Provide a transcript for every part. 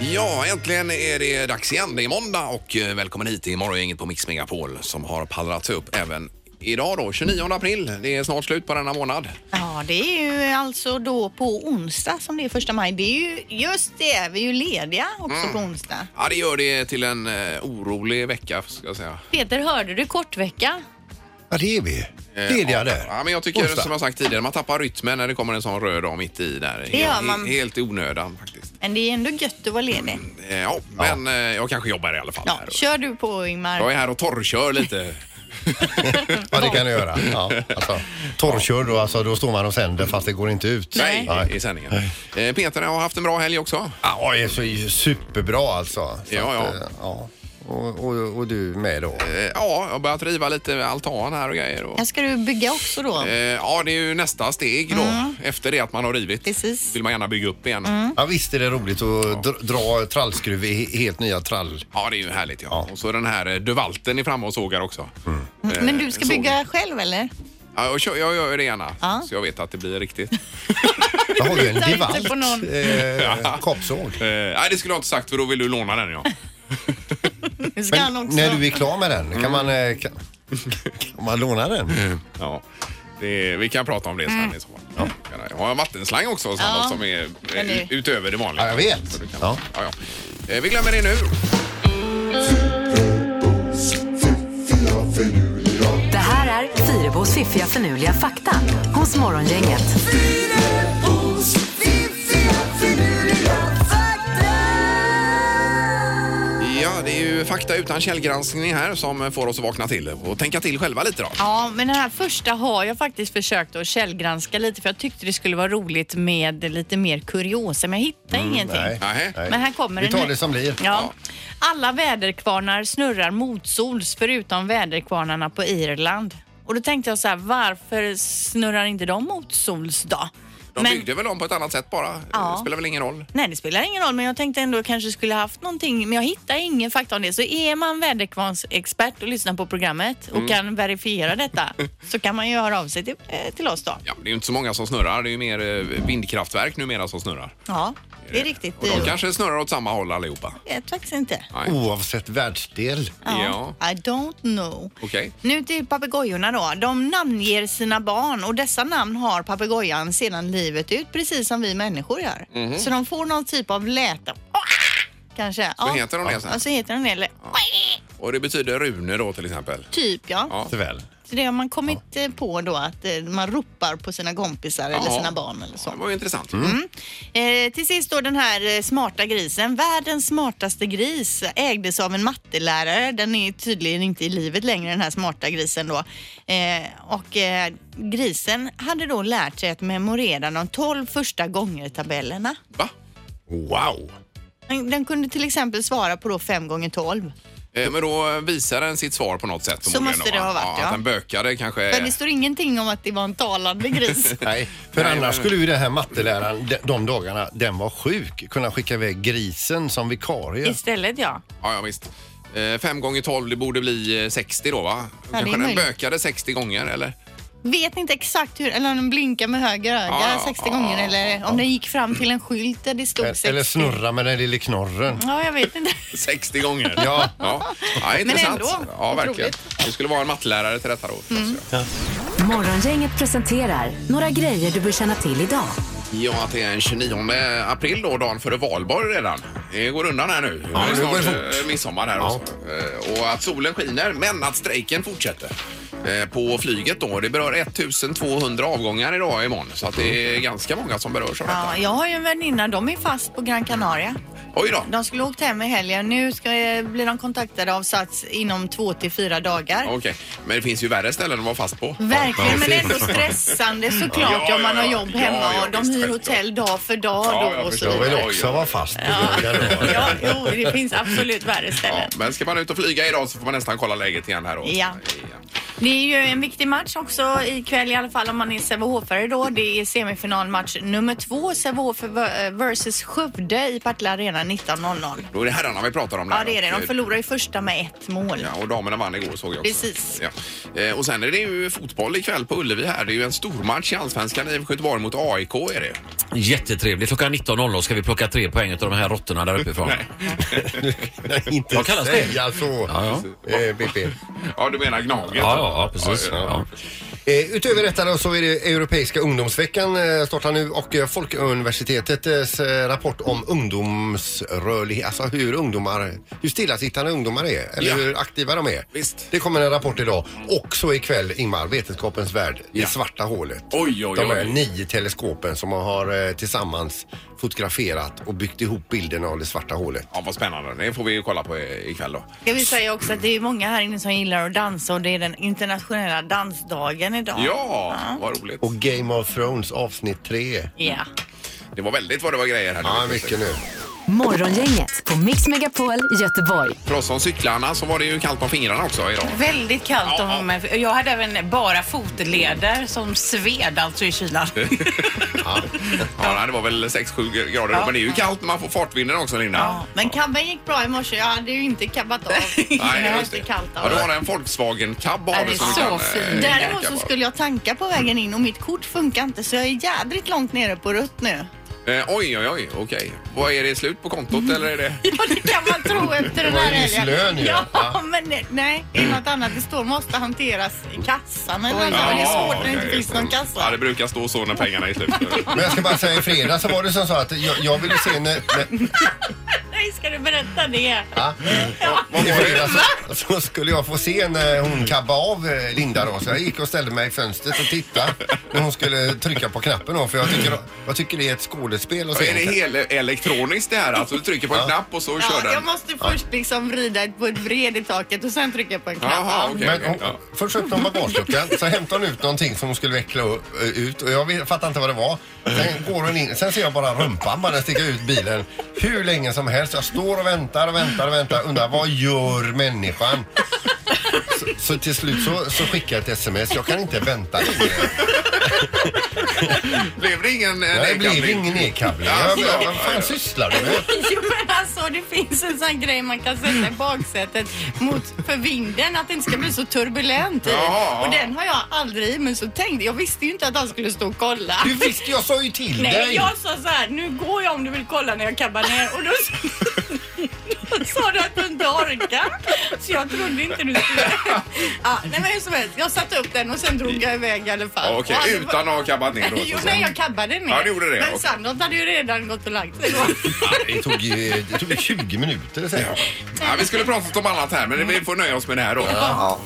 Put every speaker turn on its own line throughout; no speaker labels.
Ja, äntligen är det dags igen. Det är måndag och eh, välkommen hit till Morgongänget på Mix Megapol som har pallrat upp även idag då, 29 april. Det är snart slut på denna månad.
Ja, det är ju alltså då på onsdag som det är första maj. Det är ju just det, vi är ju lediga också
Mm.
på onsdag.
Ja, det gör det till en eh, orolig vecka, ska jag säga.
Peter, hörde du kortvecka?
Ja, det är vi.
Eh,
Lediga
ja.
där.
Ja, men jag tycker,
Onsdag.
som jag sagt tidigare, man tappar rytmen när det kommer en sån röd dag mitt i där.
Det gör
Helt-
man.
Helt i onödan faktiskt.
Men det är ändå gött att vara ledig.
Mm,
Eh, Ja, men eh, jag kanske jobbar i alla fall.
Ja,
här.
kör du på
Jag
Ingmar.
är här och torrkör lite.
Ja, det kan du göra. Ja, alltså, torrkör då, alltså, då står man och sänder fast det går inte ut.
Nej,
Nej.
i sändningen. Eh, Peter har haft en bra helg också.
Ja, det är så superbra alltså. Så
Ja,
att,
ja.
eh, ja. Och, och, och du med då.
Eh, Ja, jag har börjat riva lite altan här och grejer. Och...
Här ska du bygga också då.
Eh, Ja, det är ju nästa steg då. Efter det att man har rivit
Mm. Precis. Mm.
vill man gärna bygga upp igen.
Ja, visst är det roligt att dra, dra trallskruv i he- helt nya trall.
Ja, det är ju härligt. Ja.
Ja.
Och så den här eh, duvalten är framme och sågar också. Eh,
Mm, Men du ska
såg-
bygga själv eller?
Ja, jag, kör, jag gör det gärna
Ja.
så jag vet att det blir riktigt. Eh,
Jag har ju en
Litar inte
Devalt
på någon.
eh, kapsåg.
Eh, Nej, det skulle jag inte sagt för då vill du låna den ja.
Nu ska han
Men
också.
när du är klar med den,
Mm.
kan man, eh, kan, kan man låna den?
ja. Det, vi kan prata om det sen i så fall. Ja. Jag har en vattenslang också Sandra,
Mm. Ja.
som är eh,
Den är-
utöver det vanliga.
Ja, jag vet. Ja.
Ja, ja. Eh, Vi glömmer det nu.
Det här är Fyrabos fiffiga förnuliga fakta hos Morgongänget.
Ja, det är ju fakta utan källgranskning här som får oss att vakna till och tänka till själva lite då.
Ja, men den här första har jag faktiskt försökt att källgranska lite för jag tyckte det skulle vara roligt med lite mer kuriosa, men jag hittade ingenting.
Mm, Nej.
Nej.
Nej.
Men här kommer
Vi
den.
tar det som blir.
Ja. Alla väderkvarnar snurrar motsols förutom väderkvarnarna på Irland. Och då tänkte jag så här, varför snurrar inte de motsols då?
De
Men-
byggde väl om på ett annat sätt bara.
Ja.
Det spelar väl ingen roll.
Nej, det spelar ingen roll, men jag tänkte ändå kanske skulle haft någonting. Men jag hittar ingen fakta om det. Så är man väderkvarnsexpert och lyssnar på programmet och
Mm.
kan verifiera detta så kan man ju höra av sig till, eh, till oss då.
Ja, det är ju inte så många som snurrar. Det är ju mer eh, vindkraftverk numera som snurrar.
Ja, det är riktigt.
Och de kanske snurrar åt samma håll allihopa.
Jag vet faktiskt inte.
Oavsett världsdel.
Ja.
I don't know.
Okej.
Nu till papegojorna då. De namnger sina barn och dessa namn har papegojan sedan livet ut precis som vi människor gör.
Mhm.
Så de får någon typ av läte. ah! Kanske.
Så heter de det sen.
Ja, så heter de det. Eller,
Och det betyder Rune då till exempel.
Typ ja.
Ja.
Väl.
Så det har man kommit eh, på då att eh, man ropar på sina kompisar eller
Ja.
sina barn eller så.
Det var ju intressant.
Eh, till sist då den här eh, smarta grisen. Världens smartaste gris ägdes av en mattelärare. Den är tydligen inte i livet längre den här smarta grisen då. Eh, och eh, grisen hade då lärt sig att memorera de 12 första gånger-tabellerna.
Va?
Wow!
Den, den kunde till exempel svara på då 5 gånger 12.
Eh, Men då visar den sitt svar på något sätt.
Så
förmodligen
måste
då,
det
va?
ha varit,
ja.
ja.
Att den bökade
Men
kanske.
det står ingenting om att det var en talande gris.
Nej, för
Nej, men-
annars skulle ju den här matteläraren de, de dagarna den var sjuk kunna skicka iväg grisen som vikarie.
Istället ja.
Ja, ja visst. 5 gånger 12, det borde bli eh, 60 då va?
är
kanske den
möjligt.
bökade 60 gånger eller?
Vet inte exakt hur, eller om den blinkar med höger öga
Ja, ja,
60
ja, ja,
gånger eller om den gick fram till en skylt där det stod 60.
Eller snurra med den lille knorren.
Ja, jag vet inte.
60 gånger.
Ja.
ja. ja intressant.
ändå,
ja, verkligen. Det skulle vara en mattelärare till detta då. Mm.
Morgongänget presenterar några grejer du bör känna till idag.
Ja, att det är den 29 april då, dagen före valborg redan. Det går undan här nu.
Ja,
är
det går
snart,
fort.
eh, midsommar här
Ja.
också. Eh, Och att solen skiner, men att strejken fortsätter. Eh, På flyget då, det berör 1200 avgångar idag Mm. imorgon. Så att det är ganska många som berörs av detta.
Ja, jag har ju en väninna, de är fast på Gran Canaria.
Oj då.
De skulle åkt hem i helgen. Nu ska, blir de kontaktade av Sats inom två till fyra dagar.
Okej, men det finns ju värre ställen att vara fast på.
Mm. Verkligen, men ändå stressande såklart
Ja, ja,
om man har
ja.
jobb
Ja,
hemma
ja,
och de
visst,
hyr
självklart.
hotell dag för dag
Ja,
då
jag
och
förstår.
så
Jag
vidare.
vill också vara fast på krogen.
Ja, jo, det finns absolut värre ställen.
Ja, men ska man ut och flyga idag så får man nästan kolla läget igen här då.
Ja.
Det är ju en viktig match också ikväll i alla fall om man är Sävehofare då. Det är semifinalmatch nummer två, Sävehof eh, versus Skövde i Partille Arena 19.00.
Då är det herrarna vi pratar om där.
Ja, det är det.
Och, eh,
De förlorar ju första med ett mål.
Ja, och damerna vann igår såg jag också.
Precis.
Ja. Eh, Och sen är det ju fotboll ikväll på Ullevi här. Det är ju en stormatch i Allsvenskan. IFK Göteborg mot AIK är det.
Jättetrevligt. Klockan 19.00 ska vi plocka tre poäng av de här råttorna där uppifrån.
Nej, inte
Vad kallas det?
säga så.
Ja,
Eh, BP.
Ja, du menar Gnaget?
Ja, ja, ja precis. Ja.
Eh, utöver detta då så är det Europeiska ungdomsveckan eh, startar nu och eh, Folkuniversitetets eh, rapport om ungdomsrörlighet, alltså hur ungdomar, hur stillasittande ungdomar är eller
Ja.
hur aktiva de är.
Visst.
Det kommer en rapport idag. Också ikväll Ingmar, Vetenskapens värld,
Ja.
det svarta hålet.
Oj, oj,
De här
oj.
nio teleskopen som har eh, tillsammans fotograferat och byggt ihop bilden av det svarta hålet.
Ja, vad spännande. Det får vi ju kolla på eh, ikväll då.
Jag vill säga också att det är många här inne som gillar att dansa och det är den internationella dansdagen idag.
Ja, vad roligt.
Och Game of Thrones avsnitt 3.
Ja.
Det var väldigt vad det var grejer här.
Ja, mycket nu.
Morgongänget på Mix Megapol Göteborg.
För oss som cyklarna så var det ju kallt om fingrarna också idag.
Väldigt kallt
Ja, ja.
om Jag hade även bara fotleder som sved alltså i kylan.
Ja, ja det var väl 6-7 grader då, men det är ju kallt när man får fartvinden också Linda.
Ja, men cabben gick bra i morse. Jag hade ju inte cabbat av.
Nej,
det var
just
inte kallt alltså.
Ja,
av.
då har det en Volkswagen Cab har
Ja,
du
det är
som du
så
kan, eh,
fint.
Däremot
tanka
så
på.
skulle jag tanka på vägen in och mitt kort funkar inte så jag är jädrigt långt nere på rött nu.
Eh, oj, oj, oj, okej. Vad är det slut på kontot eller är det?
Mm. Ja, det kan man tro efter den
var
här
ju nyss lön ju.
Ja,
Ja.
men det- nej, det är något annat. Det står måste hanteras i kassan eller något. Det är
Ja,
svårt när det inte
okej,
finns någon
just det. Ja,
kassa.
det brukar stå så när pengarna är slut.
Men jag ska bara säga i fredags så var det som så att jag, jag ville se när... när
Nej, ska du berätta det?
ja. I fredags så, så skulle jag få se när hon kabbade av eh, Linda då. Så jag gick och ställde mig i fönstret och tittade när hon skulle trycka på knappen då. För jag tycker, jag tycker det är ett skådespel att
Så
se.
är det hel elektroniskt det här? Alltså du trycker på en knapp och så kör
Ja, jag
den?
måste först liksom vrida på ett vred i taket och sen trycka på en knapp.
Jaha, okej.
Men
okej.
hon,
Ja.
först öppnade hon bagageluckan, sen hämtade hon ut någonting som hon skulle veckla u- ut och jag vet- fattar inte vad det var. Sen går hon in, sen ser jag bara rumpan bara sticka ut bilen hur länge som helst. Jag står och väntar och väntar och väntar undrar vad gör människan? Så, så till slut så, så skickar jag ett sms. Jag kan inte vänta längre.
Blev det ingen eh,
Det blev
nedkallning?
ingen e-kabling. Jag, jag, vad fan sysslar du med?
Jo men alltså det finns en sån grej man kan sätta i baksätet mot för vinden att det inte ska bli så turbulent i.
Jaha.
Och den har jag aldrig i men så tänkte jag visste ju inte att han skulle stå och kolla.
Du visste, jag sa ju till
Nej,
dig.
jag sa så här, nu går jag om du vill kolla när jag kabbar ner och då, då sa du att du inte orkar. Så jag trodde inte du skulle. Ja, nej men hur som helst, jag satte upp den och sen drog jag iväg i alla fall.
Ja, Okej,
Och hade-
utan att ha kabbat ner då? så att
Jo,
säga.
nej jag kabbade ner.
Ja, du gjorde det,
Men
okej.
Sandholt hade ju redan gått och lagt sig då.
Det tog ju det tog ju 20 minuter det säger jag.
Ja, vi skulle pratat om annat här, men vi får nöja oss med det här då. Ja.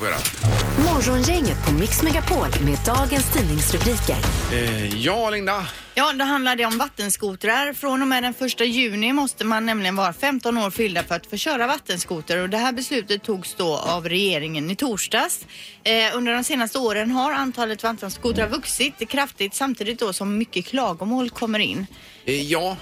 Morgongänget på Mix Megapol med dagens tidningsrubriker.
Eh, Ja, Linda.
Ja, då handlar det om vattenskotrar. Från och med den 1 juni måste man nämligen vara 15 år fyllda för att få köra vattenskoter och det här beslutet togs då av regeringen i torsdags. Eh, under de senaste åren har antalet vattenskotrar vuxit kraftigt samtidigt då som mycket klagomål kommer in.
Eh, Ja,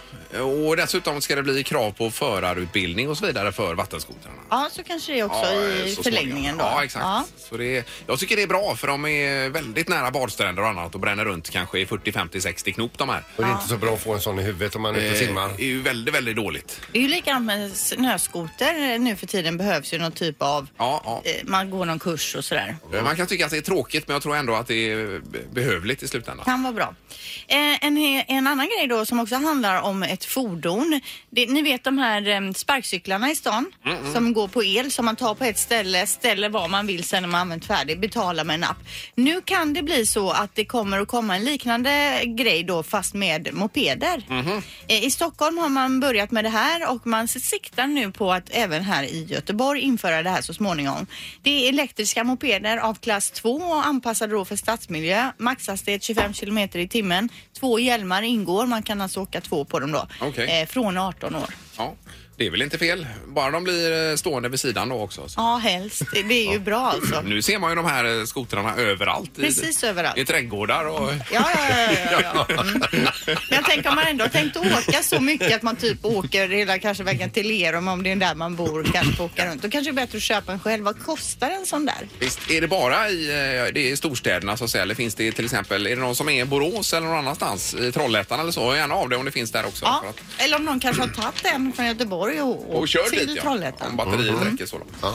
och dessutom ska det bli krav på förarutbildning och så vidare för vattenskotrarna.
Ja, så kanske det är också
Ja, eh,
i
så
förlängningen
småningom.
då.
Ja, exakt. Så det är, jag tycker det är bra för de är väldigt nära badstränder och annat och bränner runt kanske i 40, 50, 60 knop de här. Eh,
Och det är inte så bra att få en sån i huvudet om man är ute och simmar.
Det är ju väldigt, väldigt dåligt.
Det är ju likadant med snöskoter. Nu för tiden behövs ju någon typ av...
Ja, ja.
eh, Man går någon kurs och sådär.
Eh, Man kan tycka att det är tråkigt men jag tror ändå att det är be- behövligt i slutändan.
Kan vara bra. Eh, en, he- en annan grej då som också handlar om ett fordon. Det, ni vet de här eh, sparkcyklarna i stan som går på el som man tar på ett ställe, ställer vad man vill sen när man använt färdigt, betalar med en app. Nu kan det bli så att det kommer att komma en liknande grej då fast med mopeder. Eh, I Stockholm har man börjat med det här och man siktar nu på att även här i Göteborg införa det här så småningom. Det är elektriska mopeder av klass 2 och anpassade då för stadsmiljö. Maxhastighet 25 kilometer i timmen. Två hjälmar ingår. Man kan alltså åka två på dem då.
Okej.
Eh, från 18 år.
Ja. Det är väl inte fel? Bara de blir eh, stående vid sidan då också. Så.
Ja, helst. Det, det är ju bra alltså.
Nu ser man ju de här eh, skotrarna överallt. i-
Precis överallt.
I trädgårdar och...
Ja, ja, ja, ja, ja, ja. Mm. Men jag tänker om man ändå har tänkt åka så mycket att man typ åker hela kanske vägen till Lerum om det är där man bor kan få åka runt. Då kanske det är bättre att köpa en själv. Vad kostar en sån där?
Visst, är det bara i, eh, det är i storstäderna så att säga, eller finns det till exempel, är det någon som är i Borås eller någon annanstans, i Trollhättan eller så, hör gärna av det om det finns där också.
Ja,
För att-
eller om någon kanske har tagit en från Göteborg och,
Och kör dit
till
ja, om
Trollhättan.
batteriet
Mhm.
räcker så långt.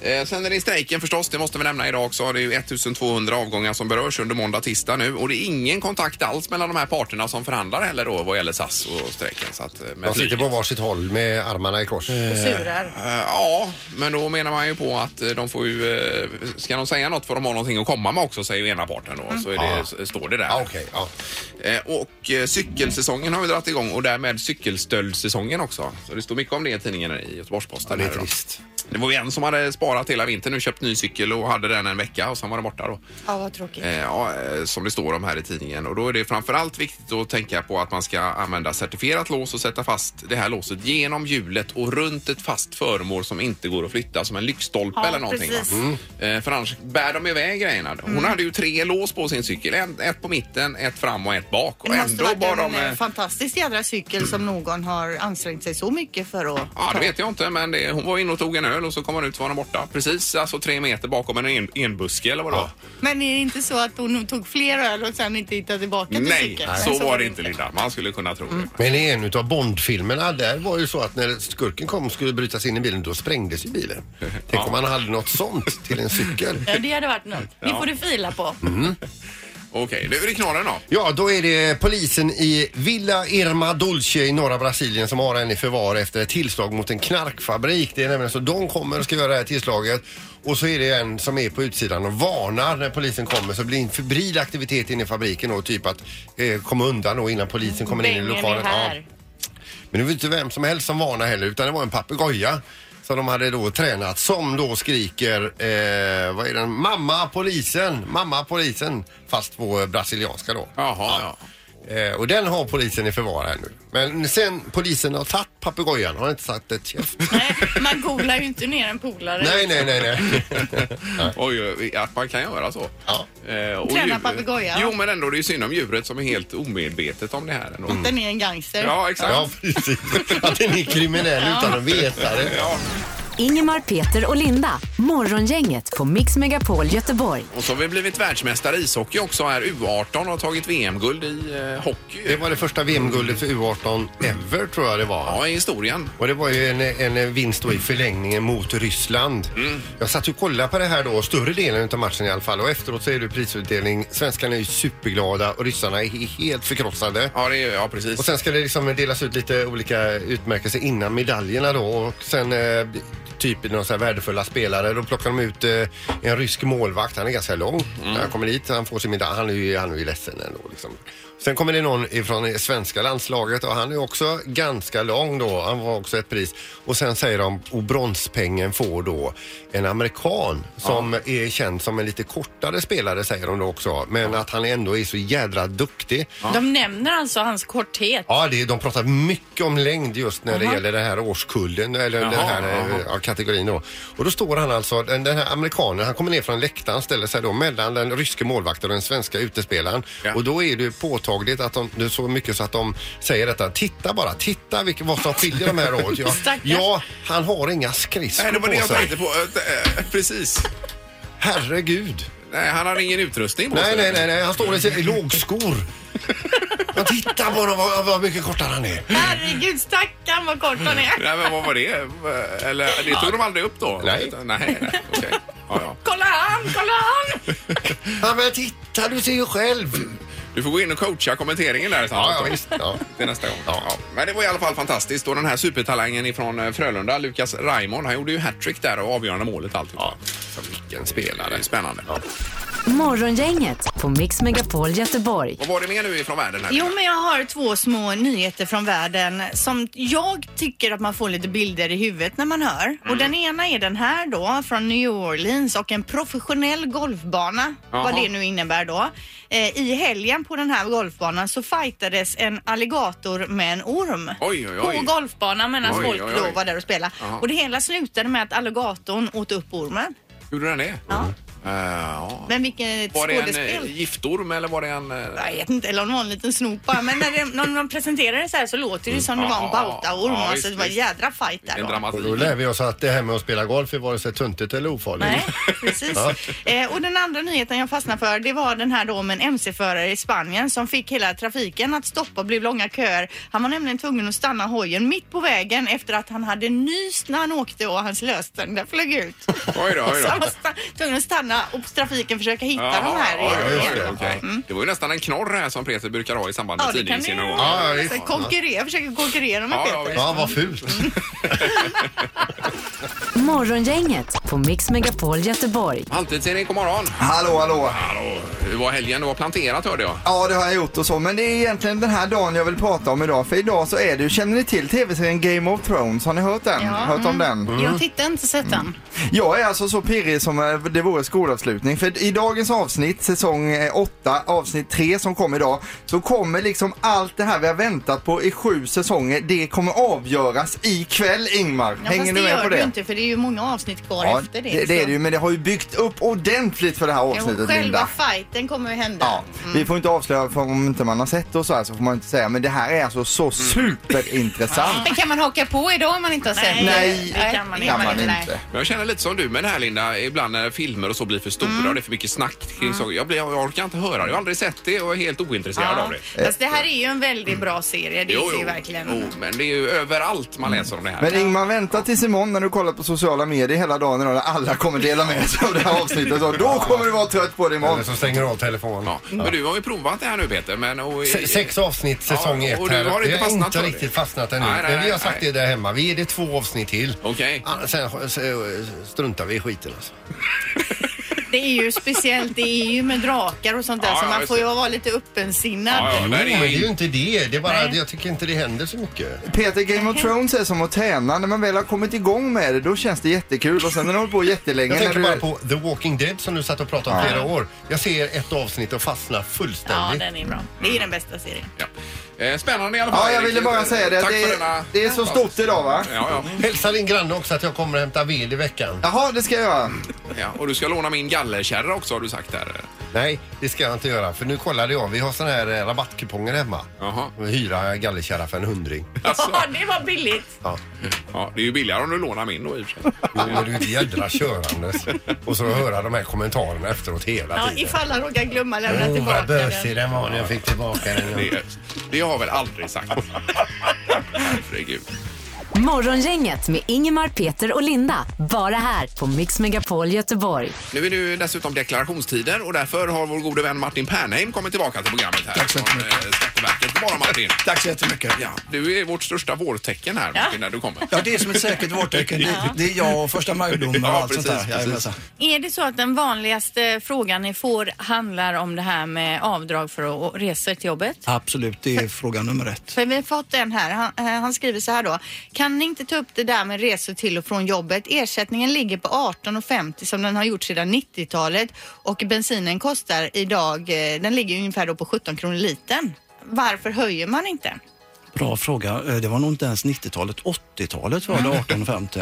Eh, sen är det strejken förstås, det måste vi nämna idag också. Det är ju 1200 avgångar som berörs under måndag, tisdag nu och det är ingen kontakt alls mellan de här parterna som förhandlar heller då vad gäller SAS och strejken. Så att, eh, med
De sitter
flyget.
på varsitt håll med armarna i kors.
Surar.
Eh, Ja, men då menar man ju på att eh, de får ju... eh, Ska de säga något får de ha någonting att komma med också, säger ju ena parten då. Så är det,
Mm. Ja.
s- står det där.
Ja, okej. ja.
Eh, Och eh, cykelsäsongen har vi dragit igång och därmed cykelstöldssäsongen också. Så det står mycket om det i tidningen i
ja,
Göteborgs-Posten.
det är
här idag.
trist.
det var ju en som hade sparat hela vintern nu, köpt ny cykel och hade den en vecka och sen var den borta då.
Ja, vad tråkigt.
Eh, ja, eh, som det står om här i tidningen. Och då är det framförallt viktigt att tänka på att man ska använda certifierat lås och sätta fast det här låset genom hjulet och runt ett fast föremål som inte går att flytta, som en lyktstolpe
Ja,
eller någonting.
precis.
va? Eh, för annars bär de iväg grejerna. Hon hade ju tre lås på sin cykel, en, ett på mitten, ett fram och ett bak. Och
Det måste
ändå
varit
var
en
de...
eh,
eh,
fantastisk jädra cykel som någon har ansträngt sig så mycket för att
Ja, det
ta.
vet jag inte, men det, hon var inne och tog en öl och så kom hon ut så var den borta. Precis, alltså tre meter bakom en en, enbuske eller vad det var.
Men är det inte så att hon tog fler öl och sen inte hittade tillbaka till
Nej,
cykeln?
så var det inte Mm. Linda. Man skulle kunna tro det.
Men i en utav Bondfilmerna, där var ju så att när skurken kom och skulle bryta sig in i bilen, då sprängdes ju bilen. Tänk om man hade något sånt till en cykel.
Ja, det hade varit något. Det får du fila på.
Okej, nu är det knaren då.
Ja, då är det polisen i Villa Irma Dulce i norra Brasilien som har henne i förvar efter ett tillslag mot en knarkfabrik. Det är nämligen så de kommer och ska göra det här tillslaget och så är det en som är på utsidan och varnar när polisen kommer så blir det en febril aktivitet inne i fabriken och typ att eh, komma undan då innan polisen kommer in i
Bengen är
lokalen. Ja.
här.
Men det var inte vem som helst som varnade heller utan det var en papegoja som de hade då tränat som då skriker, eh, vad är den, mamma polisen, mamma polisen fast på eh, brasilianska då.
Jaha, ja.
Eh, och den har polisen i förvar här nu. Men sen polisen har tagit papegojan har inte sagt ett käft.
Nej, man googlar ju inte ner en polare.
nej, nej, nej, nej.
Oj, att man kan göra så.
Ja.
Eh, och
Träna
djur-
papegoja.
Jo, men ändå, det är ju synd om djuret som är helt omedvetet om det här. Ändå.
Den är en gangster.
Ja, exakt.
Ja, precis. Att den är kriminell utan att veta det.
Ingemar, Peter och Linda. Morgongänget på Mix Megapol Göteborg.
Och så har vi blivit världsmästare i ishockey också här. U18 har tagit VM-guld i eh, hockey.
Det var det första VM-guldet för U18 ever tror jag det var.
Ja, i historien.
Och det var ju en, en vinst då i förlängningen mot Ryssland. Jag satt ju och kollade på det här då, större delen av matchen i alla fall. Och efteråt så är det prisutdelning. Svenskarna är ju superglada och ryssarna är he- helt förkrossade.
Ja, det är, ja precis.
Och sen ska det liksom delas ut lite olika utmärkelser innan medaljerna då. Och sen eh, typ några så här värdefulla spelare. Då plockar de ut eh, en rysk målvakt. Han är ganska lång. När han kommer dit, han får sin medalj. Han är ju, han är ju ledsen ändå liksom. Sen kommer det någon ifrån det svenska landslaget och han är också ganska lång då. Han var också ett pris. Och sen säger de, och bronspengen får då en amerikan som är känd som en lite kortare spelare säger de då också. Men att han ändå är så jädra duktig.
De nämner alltså hans korthet.
Ja, det, de pratar mycket om längd just när det gäller den här årskullen eller den
Jaha,
här eh,
jaha.
ja, kategorin då. Och då står han alltså, den, den här amerikanen, han kommer ner från läktaren, ställer sig då mellan den ryske målvakten och den svenska utespelaren.
Ja.
Och då är det ju påtagligt att de, det är så mycket så att de säger detta, titta bara, titta vilket, vad som skiljer de här åt. Ja,
Stackars.
ja han har inga skridskor
Nej, det var det
på
jag
sig.
tänkte på. Eh, eh, Precis.
Herregud.
Nej, han har ingen utrustning på
Nej,
sig.
nej, nej, nej, han står i, sin- i lågskor. Ja, titta bara vad, vad mycket kortare han är.
Herregud, stackarn vad kort han är.
Nej, men vad var det? Eh, Eller, det tog de aldrig upp då?
Nej.
Nej, nej, okej. Ja, ja.
Kolla han, kolla han!
Ja, men titta, du ser ju själv.
Du får gå in och coacha kommenteringen där.
Ja, ja visst. Ja.
Alltså. Det är nästa gång.
Ja.
Ja. Men det var i alla fall fantastiskt och den här supertalangen ifrån eh, Frölunda, Lukas Raimond, han gjorde ju hattrick där och avgörande målet alltid. Ja.
Vilken
Spelare.
spelare.
Spännande.
Morgongänget på Mix Megapol Göteborg.
Vad var det mer nu ifrån världen? Här?
Jo, men jag har två små nyheter från världen som jag tycker att man får lite bilder i huvudet när man hör.
Mm.
Och den ena är den här då från New Orleans och en professionell golfbana,
Jaha.
vad det nu innebär då. Eh, I helgen på den här golfbanan så fightades en alligator med en orm.
Oj, oj,
På
oj.
golfbanan medan
Oj,
folk
oj,
då
oj.
var där och spelade.
Jaha.
Och det hela slutade med att alligatorn åt upp ormen.
Gjorde den det?
Ja.
Eh, ja.
Men vilket
Var det en
skådespel!
eh, giftorm eller var det en... eh,
Jag vet inte, eller om det var en liten snop bara. Men när, det, när de presenterar det så här så låter det som det var en
Mm. Ja,
bautaorm.
ja,
alltså
visst,
det var en
visst.
jädra fight där
en
då.
Och då lär
dramatik?
vi oss att det här med att spela golf är vare sig tuntigt eller ofarligt.
Nej, precis. Eh, och den andra nyheten jag fastnade för det var den här då om en MC-förare i Spanien som fick hela trafiken att stoppa och blev långa köer. Han var nämligen tvungen att stanna hojen mitt på vägen efter att han hade nyst när han åkte och hans löständer flög ut.
Oj då, oj
Så han
då.
var sta- tvungen att stanna och trafiken försöka hitta de
Jaha,
här.
oj, oj,
igen. Mm.
oj, okej. Det var ju nästan en knorr här som Peter brukar ha i samband med
Ja, det kan det
tidningsgenomgången.
ju-
Ja, ja,
Så
visst.
konkurrera, försöker konkurrera med
Ja, ja,
Peter.
visst.
Ja, vad fult.
Morgongänget på Mix Megapol Göteborg.
Halvtids-Erik, god morgon.
Hallå, hallå.
Hallå. Hur var helgen? Du var planterat hörde jag.
Ja, det har jag gjort och så, men det är egentligen den här dagen jag vill prata om idag. För idag så är det ju, känner ni till tv-serien Game of Thrones? Har ni hört den? hört
Mm.
om den?
Jag
Mm.
tittar inte sett den.
Jag är alltså så pirrig som eh, det vore skolavslutning. För i dagens avsnitt, säsong 8, avsnitt 3 som kom idag, så kommer liksom allt det här vi har väntat på i sju säsonger, det kommer avgöras ikväll Ingmar.
Ja,
Hänger du
fast det
med
gör
på det?
du inte för det är ju många avsnitt kvar
Ja,
efter det.
det, det är
så-
det ju, men det har ju byggt upp ordentligt för det här
Ja,
avsnittet
Själva
Linda.
fighten kommer ju hända.
Ja,
Mm.
vi får inte avslöja för om inte man har sett och så här så får man inte säga men det här är alltså
Mm.
så superintressant.
Men kan man haka på idag om man inte har sett den?
Nej,
det kan man,
inte.
Men jag känner lite som du med det här Linda, ibland när filmer och så blir för
Mm.
stora och det är för mycket snack kring saker. Jag, blir, jag orkar inte höra det. Jag har aldrig sett det och är helt ointresserad av
Ja.
det.
Fast det här är ju en väldigt bra serie, det är ju verkligen.
Jo, Oh. men det är ju överallt man läser om det här.
Mm. Men Ingmar, vänta tills imorgon när du kollar på sociala medier hela dagen idag när alla kommer dela med sig av det här avsnittet. Och då kommer du vara trött på det imorgon.
Eller så stänger du av telefonen.
Ja.
Mm.
Men du har ju provat det här nu Peter. Men, och,
Se- Sex avsnitt säsong
Ja,
ett
och du
här.
har inte
jag har
fastnat
inte
för det.
riktigt fastnat ännu.
Nej, nej,
men vi har
nej,
sagt
nej.
det där hemma. Vi är det två avsnitt till.
Okej.
Ah, Sen sen struntar vi i skiten alltså.
Det är ju speciellt, det är ju med drakar och sånt där
Ja,
så
ja,
man
just
får ju
det.
vara lite öppensinnad.
Ja, ja,
Jo,
där
men det
Mm.
är ju
är...
inte det. Det är bara
Nej.
jag tycker inte det händer så mycket.
Peter, Game of Thrones är som att träna. När man väl har kommit igång med det, då känns det jättekul. Och sen när du håller på jättelänge.
Jag tänker
när
bara
du...
på The Walking Dead som du satt och pratade om flera år. Jag ser ett avsnitt och fastnar
Ja,
fullständigt.
den är bra. Det är den bästa serien.
Ja. Eh, Spännande i alla fall.
Ja, jag
Erik.
ville bara säga det.
Tack
Det
för denna...
är, det är så stort idag va?
Ja,
Hälsa din granne också att jag kommer att hämta ved i veckan.
Jaha, det ska jag göra.
ja, ja. Och du ska låna min gallerkärra också har du sagt här.
Nej, det ska jag inte göra. För nu kollade jag. Vi har såna här eh, rabattkuponger hemma.
Jaha.
Hyra gallerkärra för en hundring.
Alltså,
Ja, det var billigt.
Ja.
ja, det är ju billigare om du lånar min då i och för sig.
Jo, men du är ett jädra körandes. Och så höra de här kommentarerna efteråt hela
Ja,
tiden.
ifall han råkar glömma
Oh,
lämna
Åh,
tillbaka
vad
den.
bösig den var när jag fick tillbaka den.
Det, det har jag väl aldrig sagt. Herregud.
Morgongänget med Ingemar, Peter och Linda. Bara här på Mix Megapol Göteborg.
Nu är det ju dessutom deklarationstider och därför har vår gode vän Martin Pernheim kommit tillbaka till programmet här.
Tack så
från,
mycket.
eh, Skatteverket. God morgon Martin.
Tack så jättemycket.
Ja, du är vårt största vårtecken här Martin, när du kommer.
Ja, det är som ett säkert vårtecken. Det, det är jag och första majblommor och
Ja,
allt sånt
precis,
där.
precis.
Jajamensan.
Är det så att den vanligaste frågan ni får handlar om det här med avdrag för att- resor till jobbet?
Absolut, det är fråga nummer ett.
För vi har fått en här. Han, eh, han skriver så här då. Kan ni inte ta upp det där med resor till och från jobbet? Ersättningen ligger på 18,50 som den har gjort sedan 90-talet och bensinen kostar idag, eh, den ligger ungefär då på 17 kronor litern. Varför höjer man inte?
Bra fråga. Eh, Det var nog inte ens 90-talet. 80-talet var det 1850.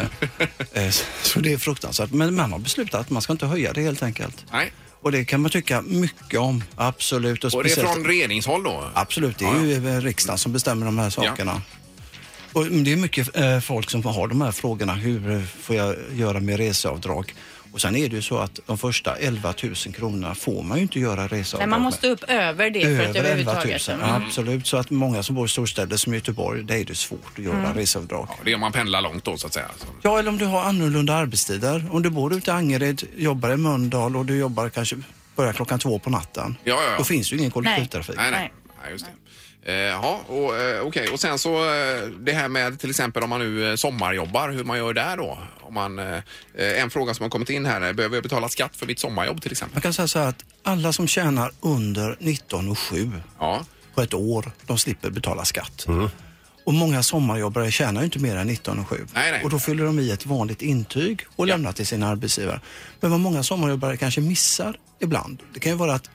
Eh, s- Så det är fruktansvärt. Men man har beslutat att man ska inte höja det helt enkelt.
Nej.
Och det kan man tycka mycket om. Absolut.
Och det är från regeringshåll då?
Absolut, det är ju eh, riksdagen som bestämmer de här sakerna. Och mm, det är mycket eh, folk som har de här frågorna. Hur eh, får jag göra med reseavdrag? Och sen är det ju så att de första 11 000 kronorna får man ju inte göra reseavdrag
Nej, man måste upp över det
med.
för att
Över 11 000,
överhuvudtaget.
Mm.
Mm.
absolut. Så att många som bor i storstäder som Göteborg, där är det svårt att
Mm.
göra reseavdrag.
Ja, Det är om man pendlar långt då så att säga. Alltså.
Ja, eller om du har annorlunda arbetstider. Om du bor ute i Angered, jobbar i Mölndal och du jobbar kanske börjar klockan två på natten.
Ja, ja, ja.
Då finns det ju ingen kollektivtrafik.
Nej, nej.
Nej.
nej just det. Eh, Ja, och, eh, okej. Och sen så eh, det här med till exempel om man nu eh, sommarjobbar, hur man gör där då? Om man, eh, eh, en fråga som har kommit in här är, behöver jag betala skatt för mitt sommarjobb till exempel?
Man kan säga så här att alla som tjänar under 19 och 7 på ett år, de slipper betala skatt.
Mm.
Och många sommarjobbare tjänar ju inte mer än 19 och 7.
Nej, nej.
Och då fyller de i ett vanligt intyg och lämnar till sin arbetsgivare. Men vad många sommarjobbare kanske missar ibland, det kan ju vara att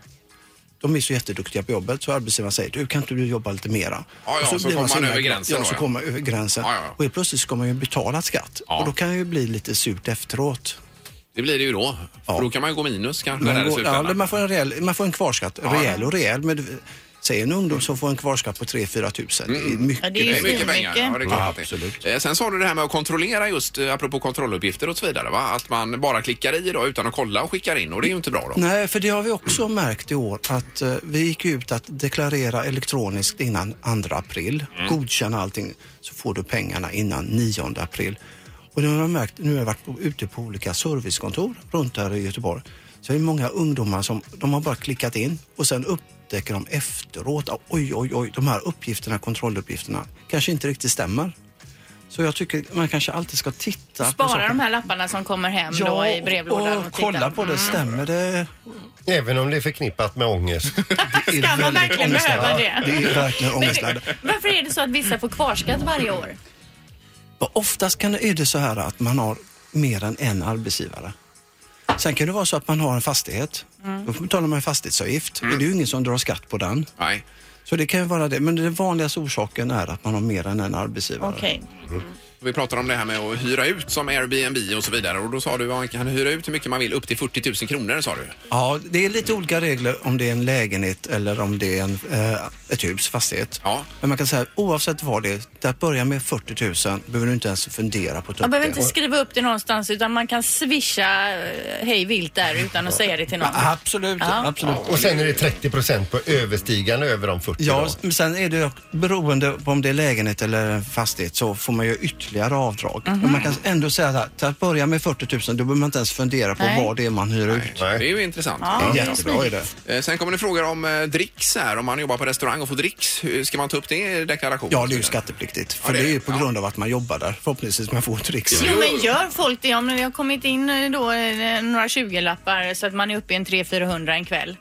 de är så jätteduktiga på jobbet så arbetsgivaren säger du kan inte du jobba lite mera?
Ja, ja,
Och
så
blir
kommer man
himla
över
glad.
gränsen
Ja,
då,
så
ja.
kommer man över gränsen. Och helt plötsligt ska man ju betala skatt. Och då kan det ju bli lite surt efteråt.
Det blir det ju då. För då kan man ju gå minus kanske. där i
Man, går, ja,
slutändan.
man, får en rejäl, man får en kvarskatt.
Ja.
Rejäl och rejäl. Men du- säg en ungdom som får en kvarskatt på 3-4 tusen. Det är mycket
det är mycket pengar.
pengar.
Ja, det är klart
Ja,
att det är.
absolut.
Eh, Sen sa du det här med att kontrollera just eh, apropå kontrolluppgifter och så vidare va? Att man bara klickar i då utan att kolla och skickar in och det är ju inte bra då.
Nej, för det har vi också märkt i år att eh, vi gick ut att deklarera elektroniskt innan 2 april. Godkänna allting så får du pengarna innan 9 april. Och det har jag märkt, nu har jag varit på, ute på olika servicekontor runt här i Göteborg. Så det är många ungdomar som de har bara klickat in och sen upptäcker de efteråt att oj, oj, oj, de här uppgifterna, kontrolluppgifterna kanske inte riktigt stämmer. Så jag tycker man kanske alltid ska titta på
Spara
saker.
de här lapparna som kommer hem då i brevlådan.
och, och kolla
titta. Mm.
på det, stämmer det?
Även om det är förknippat med ångest.
Ska man verkligen behöva det?
verkligen ångestladdat.
Varför är det så att vissa får kvarskatt varje år?
Och Oftast kan, är det så här att man har mer än en arbetsgivare. Sen kan det vara så att man har en fastighet.
Mm.
Då får man betala man fastighetsavgift
Mm.
och det är ju ingen som drar skatt på den.
Nej.
Så det kan ju vara det. Men den vanligaste orsaken är att man har mer än en arbetsgivare.
Okej.
Vi pratade om det här med att hyra ut som Airbnb och så vidare och då sa du att man kan hyra ut hur mycket man vill upp till 40 000 kronor sa du.
Ja, det är lite olika regler om det är en lägenhet eller om det är en, eh, ett hus, fastighet. Men man kan säga oavsett vad det är, där börjar med 40 000 behöver du inte ens fundera på att ta
Man
upp
behöver
det.
inte skriva upp det någonstans utan man kan swisha eh, hej vilt där utan att säga det till någon.
Absolut,
Ja.
absolut.
Och sen är det 30 procent på överstigande över de 40
Ja,
då.
men sen är det beroende på om det är lägenhet eller en fastighet så får man ju ytterligare avdrag. Men man kan ändå säga att här, till att börja med 40 000 då behöver man inte ens fundera på
Nej.
vad det är man hyr ut.
Det är ju intressant.
Ja, Det är det är jättebra smidigt.
Eh, Sen kommer det frågor om eh, dricks här. Om man jobbar på restaurang och får dricks, hur- ska man ta upp det i deklarationen?
Ja, det är ju skattepliktigt. För
Ja, det
det
är
är ju på grund av att man jobbar där. Förhoppningsvis man får ett riks.
Jo men gör folk det om det har kommit in eh, då eh, några 20-lappar så att man är uppe i en 300-400 en kväll.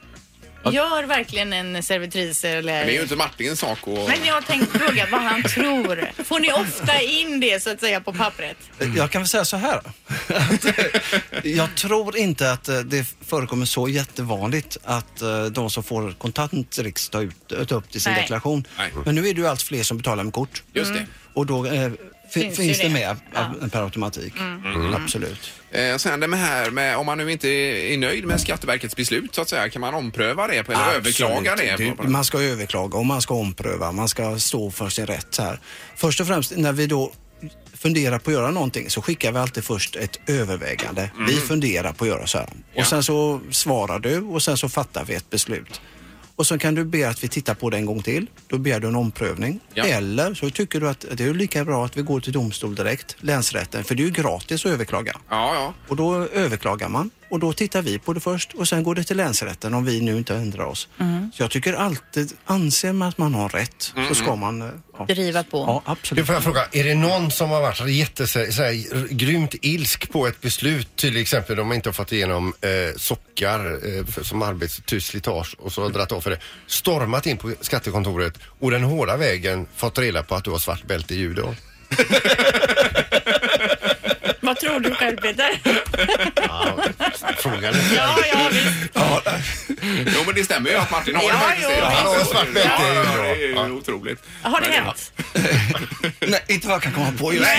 Gör verkligen en servitris eller...
Men det är ju inte Martins sak att...
Men jag tänkte fråga vad han tror. Får ni ofta in det så att säga på pappret?
Jag kan väl säga så här. Att, eh, jag tror inte att eh, det förekommer så jättevanligt att eh, de som får kontant riks tar, ut, tar upp det i sin
Nej.
deklaration. Men nu är det ju allt fler som betalar med kort.
Just det. Mm.
Och då eh,
Syns
finns,
ju
finns det
det.
med eh, per automatik.
Mm.
Absolut.
Eh, sen det med här med om man nu inte är nöjd med Skatteverkets beslut så att säga, kan man ompröva det på, eller överklaga det?
Du,
på,
man ska överklaga och man ska ompröva. Man ska stå för sin rätt här. Först och främst när vi då funderar på att göra någonting så skickar vi alltid först ett övervägande. Vi
Mm.
funderar på att göra så här. Och sen så svarar du och sen så fattar vi ett beslut. Och sen kan du be att vi tittar på det en gång till. Då begär du en omprövning. Eller så tycker du att det är lika bra att vi går till domstol direkt, länsrätten, för det är ju gratis att överklaga.
Ja, ja.
Och då överklagar man och då tittar vi på det först och sen går det till länsrätten om vi nu inte ändrar oss.
Mm.
Så jag tycker alltid, anser man att man har rätt så ska man... eh, Ja.
Driva på.
Ja, absolut.
Du får jag fråga, är det någon som har varit jätte, så här, grymt ilsk på ett beslut, till exempel om man inte har fått igenom eh, sockar eh, för, som arbets- slitage och så har dragit av för det, stormat in på skattekontoret och den hårda vägen fått reda på att du har svart bälte i judo?
Vad tror du själv Peter?
Frågan
Ja, ja,
jo, men det stämmer ju att Martin har det faktiskt.
jo. Han har en svart bälte,
Ja,
det är ju
ja,
bra.
det är ju otroligt.
Har det
Men-
hänt?
Nej, inte vad jag kan komma på just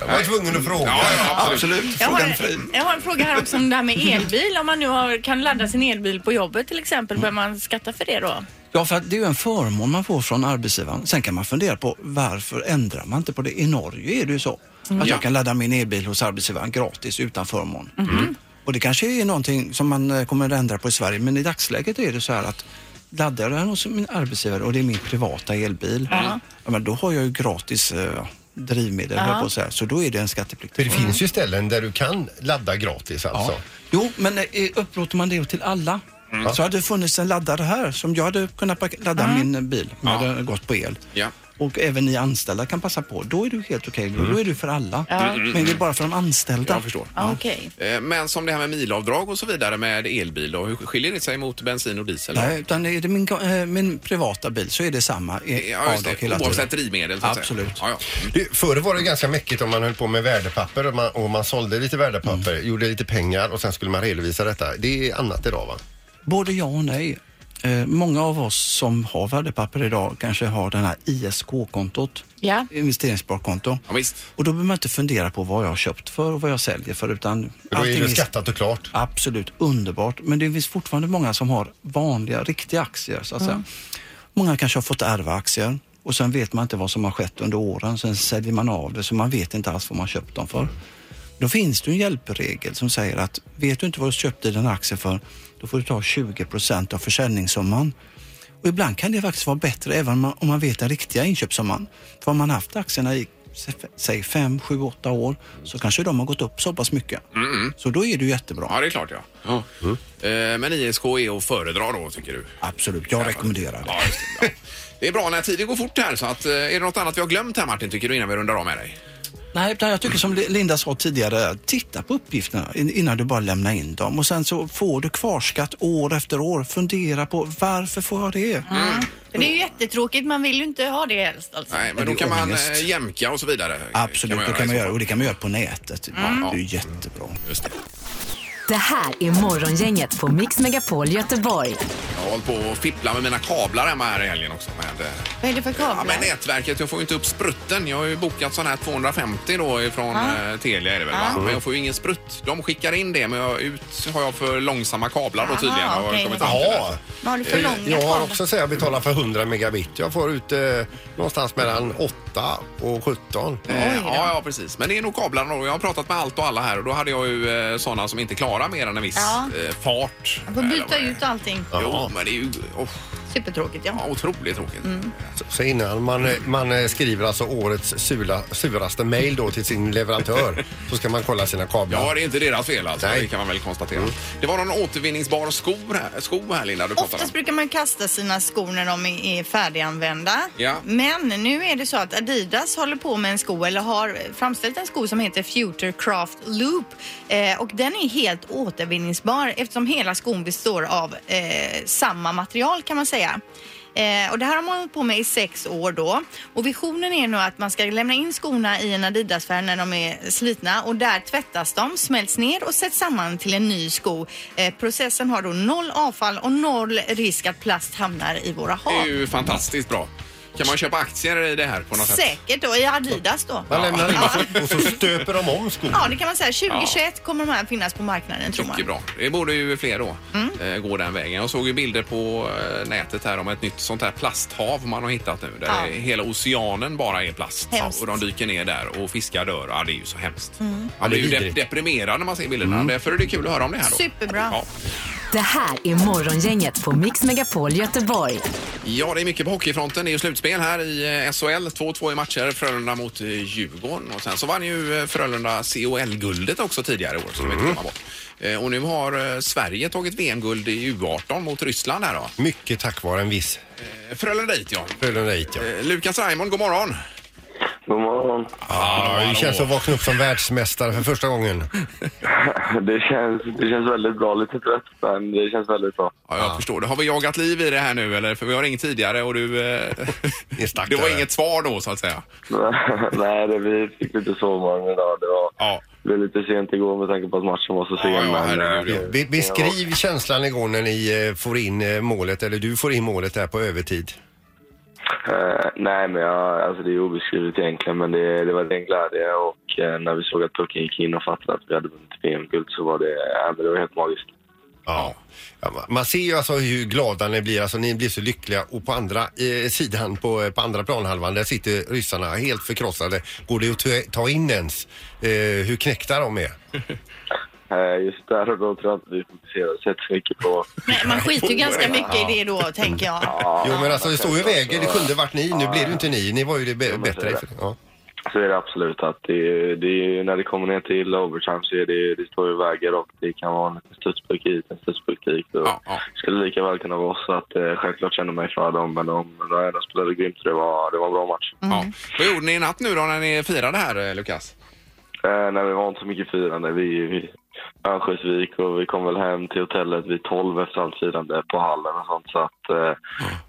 Jag var tvungen att fråga. Ja,
absolut.
Jag har,
Frågan fri.
jag har en fråga här också om det här med elbil. Om man nu har, kan ladda sin elbil på jobbet till exempel, behöver man skatta för det då?
Ja, för att det är ju en förmån man får från arbetsgivaren. Sen kan man fundera på varför ändrar man inte på det? I Norge är det ju så.
Mm.
Att
Ja.
jag kan ladda min elbil hos arbetsgivaren gratis utan förmån. Mm. Och det kanske är någonting som man eh, kommer att ändra på i Sverige, men i dagsläget är det så här att laddar jag den hos min arbetsgivare och det är min privata elbil,
Ja.
ja, men då har jag ju gratis eh, drivmedel,
Ja.
höll jag på att säga. så då är det en skatteplikt.
För det finns ju ställen där du kan ladda gratis alltså.
Jo, men eh, upplåter man det till alla
Mm.
Så hade det funnits en laddare här som jag hade kunnat packa- ladda min eh, bil om jag hade gått på el.
Ja.
Och även ni anställda kan passa på. Då är du helt okej. Då-
Mm.
Då är du för alla.
Ja. Mm, mm,
Men det är
mm.
bara för de anställda.
Jag förstår.
Ja, Okej.
Eh, Men som det här med milavdrag och så vidare med elbil då, hur skiljer det sig mot bensin och diesel?
Nej, utan är det min, eh, min privata bil så är det samma
Ja,
eh,
just
avdrag
det.
hela
Oavsett
tiden.
drivmedel så att
Absolut.
säga. Ja, ja.
Du, förr var det ganska mäckigt om man höll på med värdepapper och man, och man sålde lite värdepapper, gjorde lite pengar och sen skulle man redovisa detta. Det är annat idag va?
Både ja och nej. Eh, många av oss som har värdepapper idag kanske har den här ISK-kontot.
Ja.
Investeringssparkonto. Och då behöver man inte fundera på vad jag har köpt för och vad jag säljer för utan
Då är det skattat och klart.
Absolut, underbart. Men det finns fortfarande många som har vanliga, riktiga aktier så att
Mm.
säga. Många kanske har fått ärva aktier och sen vet man inte vad som har skett under åren. Sen säljer man av det så man vet inte alls vad man köpt dem för. Då finns det ju en hjälpregel som säger att vet du inte vad du köpte den aktie för, då får du ta 20 procent av försäljningssumman. Och ibland kan det faktiskt vara bättre även om man, om man vet den riktiga inköpssumman. För om man haft aktierna i sä- säg 5, 7, 8 år så kanske de har gått upp så pass mycket.
Mm, mm.
Så då är det ju jättebra.
Ja, det är klart ja. Eh, Men ISK är att föredra då, tycker du?
Absolut, jag rekommenderar det.
Ja, just det. Ja. Det är bra när tiden går fort här, så att, eh, är det något annat vi har glömt här Martin, tycker du, innan vi rundar av med dig?
Nej, utan jag tycker som Linda sa tidigare, titta på uppgifterna in- innan du bara lämnar in dem. Och sen så får du kvarskatt år efter år. Fundera på varför får jag det?
För det är ju jättetråkigt, man vill ju inte ha det helst alltså.
Nej, men
Det
då
är
kan man
ångest.
eh, jämka och så vidare.
Absolut, det kan man
i så
göra.
fall.
Och det kan man göra på nätet.
Mm.
Det är ju jättebra.
Just det.
Det här är Morgongänget på Mix Megapol Göteborg.
Jag har hållit på och fippla med mina kablar hemma här i helgen också. Med, eh,
Vad är det för
ja,
kablar?
med nätverket, jag får ju inte upp sprutten. Jag har ju bokat sån här 250 då ifrån
Ja.
eh, Telia är det väl, va?
Ja.
men jag får ju ingen sprutt. De skickar in det, men jag, ut har jag för långsamma kablar då
Aha,
tydligen. har jag
okej.
kommit fram till det.
Jaha.
Vad har du för
Eh,
långa
Jag har
kablar?
också säga betalar för 100 megabit. Jag får ut eh, någonstans mellan 8 och 17.
Mm.
Eh, ja, ja, precis. Men det är nog kablarna då. Jag har pratat med allt och alla här och då hade jag ju eh, sådana som inte klarar mer än en viss
Ja.
eh, fart.
Man får byta ut allting.
Jo, men det är ju oh,
Supertråkigt, ja.
ja, otroligt tråkigt.
Mm.
Så- Så innan man, man eh, skriver alltså årets sula, suraste mail då till sin leverantör så ska man kolla sina kablar.
Ja, det är inte deras fel alltså. Det kan man väl konstatera. Det var någon återvinningsbar sko här, sko här Linda, du pratade om.
Oftast brukar man kasta sina skor när de är är färdiganvända.
Ja.
Men nu är det så att Adidas håller på med en sko, eller har framställt en sko som heter Future Craft Loop. Eh, och den är helt återvinningsbar eftersom hela skon består av eh, samma material kan man säga. Eh, och det här har man hållit på med i sex år då. Och visionen är nu att man ska lämna in skorna i en Adidas-färg när de är slitna och där tvättas de, smälts ner och sätts samman till en ny sko. Eh, processen har då noll avfall och noll risk att plast hamnar i våra
Det är
hav.
ju fantastiskt bra. Kan man köpa aktier i det här på något sätt?
Säkert då i Adidas då.
Man lämnar in
Ja.
så- och så stöper de om skon.
Ja, det kan man säga. 2021 kommer de här finnas på marknaden tror man.
Mycket bra. Det borde ju fler då
Mm.
eh, gå den vägen. Jag såg ju bilder på eh, nätet här om ett nytt sånt här plasthav man har hittat nu. Där
Ja.
hela oceanen bara är plast.
Hemskt.
Och de dyker ner där och fiskar dör. Ja, det är ju så hemskt.
Mm.
Man blir ju de- deprimerad när man ser bilderna. Därför är det kul att höra om det här då.
Superbra.
Ja.
Det här är Morgongänget på Mix Megapol Göteborg.
Ja, det är mycket på hockeyfronten. Det är ju slutspel här i eh, SHL. 2-2 i matcher. Frölunda mot eh, Djurgården. Och sen så vann ju eh, Frölunda CHL-guldet också tidigare i år.
Mm-hmm.
Som vi inte glömma bort. Eh, Och nu har eh, Sverige tagit VM-guld i U18 mot Ryssland här då.
Mycket tack vare en viss.
Eh, Frölunda hit, ja.
Frölunda hit, ja.
Eh, Lukas Raymond, god morgon.
God morgon.
Ja, det känns som att vakna upp som världsmästare för första gången.
Det känns, det känns väldigt bra. Lite trött, men det känns väldigt bra.
Ja, jag förstår det. Har vi jagat liv i det här nu eller? För vi har ringt tidigare och du... eh, det var inget svar då så att säga.
Nej, det, vi fick lite sovmorgon idag. Det var, det blev lite sent igår med tanke på att matchen var så sen. men, eh,
Be- beskriv känslan igår när ni eh, får in eh, målet, eller du får in målet där på övertid.
Eh, nej, men jag, alltså det är obeskrivligt egentligen, men det, det var ren glädje. Och eh, när vi såg att pucken gick in och fattade att vi hade vunnit VM-guld så var det, ja, men det var helt magiskt.
Ja. Ja, ma- man ser ju alltså hur glada ni blir, alltså ni blir så lyckliga och på andra eh, sidan, på, eh, på andra planhalvan, där sitter ryssarna helt förkrossade. Går det att ta- ta in ens eh, hur knäckta de är?
Eh, just där och då tror jag inte vi fokuserade så mycket på...
Nej, man skiter ju ganska mycket i det då, tänker jag.
Ja,
Jo men alltså det står ju
självklart.
väger, det kunde varit ni, nu blev det ju inte ni. Ni var ju det be- bättre. Ja.
Så är det absolut att det, det är ju, när det kommer ner till overtime så är det, det står ju vägar och det kan vara en liten studspuck hit, en studspuck dit. Och skulle lika väl kunna vara så att eh, självklart känner mig för dem men de, de, de spelade grymt och det var, det var en bra match.
Ja. Vad gjorde ni i natt nu då när ni firade här, eh, Lukas?
Eh, nej, vi var inte så mycket firande. Vi, vi Örnsköldsvik och vi kom väl hem till hotellet vid 12 efter allt firande på hallen och sånt. Så att eh,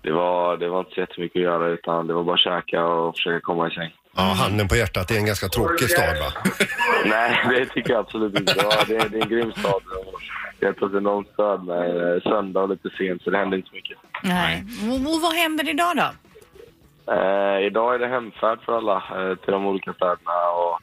det, var, det var inte så jättemycket att göra utan det var bara att käka och försöka komma i säng.
Ja, handen på hjärtat, det är en ganska tråkig stad va?
Nej, det tycker jag absolut inte. Det, var, det, är- det är en grym stad. och Jag tror att någon störd mig eh, söndag och lite sent så det hände inte så mycket.
Nej. Och, och vad händer idag då?
Eh, idag är det hemfärd för alla eh, till de olika städerna och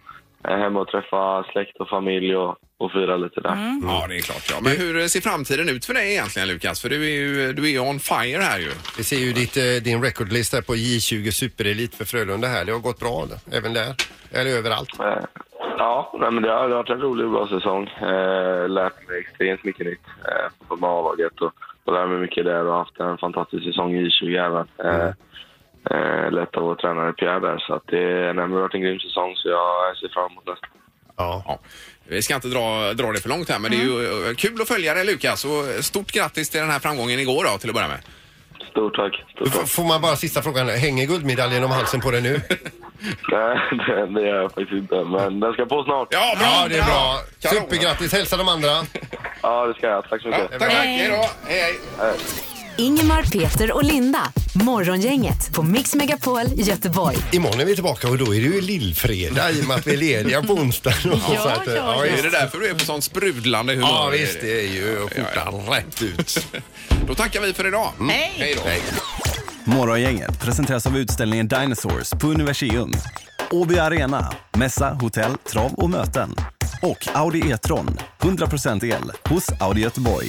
eh, hem och träffa släkt och familj och, och fira lite där.
Ja, det är klart. Ja. Men hur eh, ser framtiden ut för dig egentligen, Lukas? För du är ju du är ju on fire här ju.
Vi ser ju ditt, eh, din recordlista på J20 Superelit för Frölunda här. Det har gått bra även där. Eller överallt.
Eh, Ja, nej, men det har varit en rolig och bra säsong. Eh, lärt mig extremt mycket nytt eh, på A-laget och, och lärt mig mycket där och haft en fantastisk säsong i 20 även. Eh, eh, lett av vår tränare Pierre där. Så att det, nej, men det har varit en grym säsong så
uh,
jag ser fram emot nästa.
Ja. Vi ska inte dra, dra det för långt här, men det är ju eh, kul att följa dig, Lukas. Och stort grattis till den här framgången igår då, till att börja med.
Stort tack. Stort
F- Får man bara sista frågan, hänger guldmedaljen om halsen på dig nu?
Nej, det, det gör jag faktiskt inte, men den ska på snart.
Ja,
bra! det är bra. Supergrattis, hälsa de andra.
Ja, det ska jag. Tack så mycket.
tack, tack. Hej
då. Hej,
hej.
Ingemar, Peter och Linda. Morgongänget på Mix Megapol Göteborg.
Imorgon är vi tillbaka och då är det ju lillfredag i och med att vi är lediga på onsdagen. och så att, eh, ja,
Är
visst.
det därför du är på sånt sprudlande humör?
Ja, visst, det är ju
skjortan rätt ut. Då tackar vi för idag. Hej! Hej då.
Morgongänget presenteras av utställningen Dinosaurs på Universium. Åby Arena, mässa, hotell, trav och möten. Och Audi E-tron, 100% el, hos Audi Göteborg.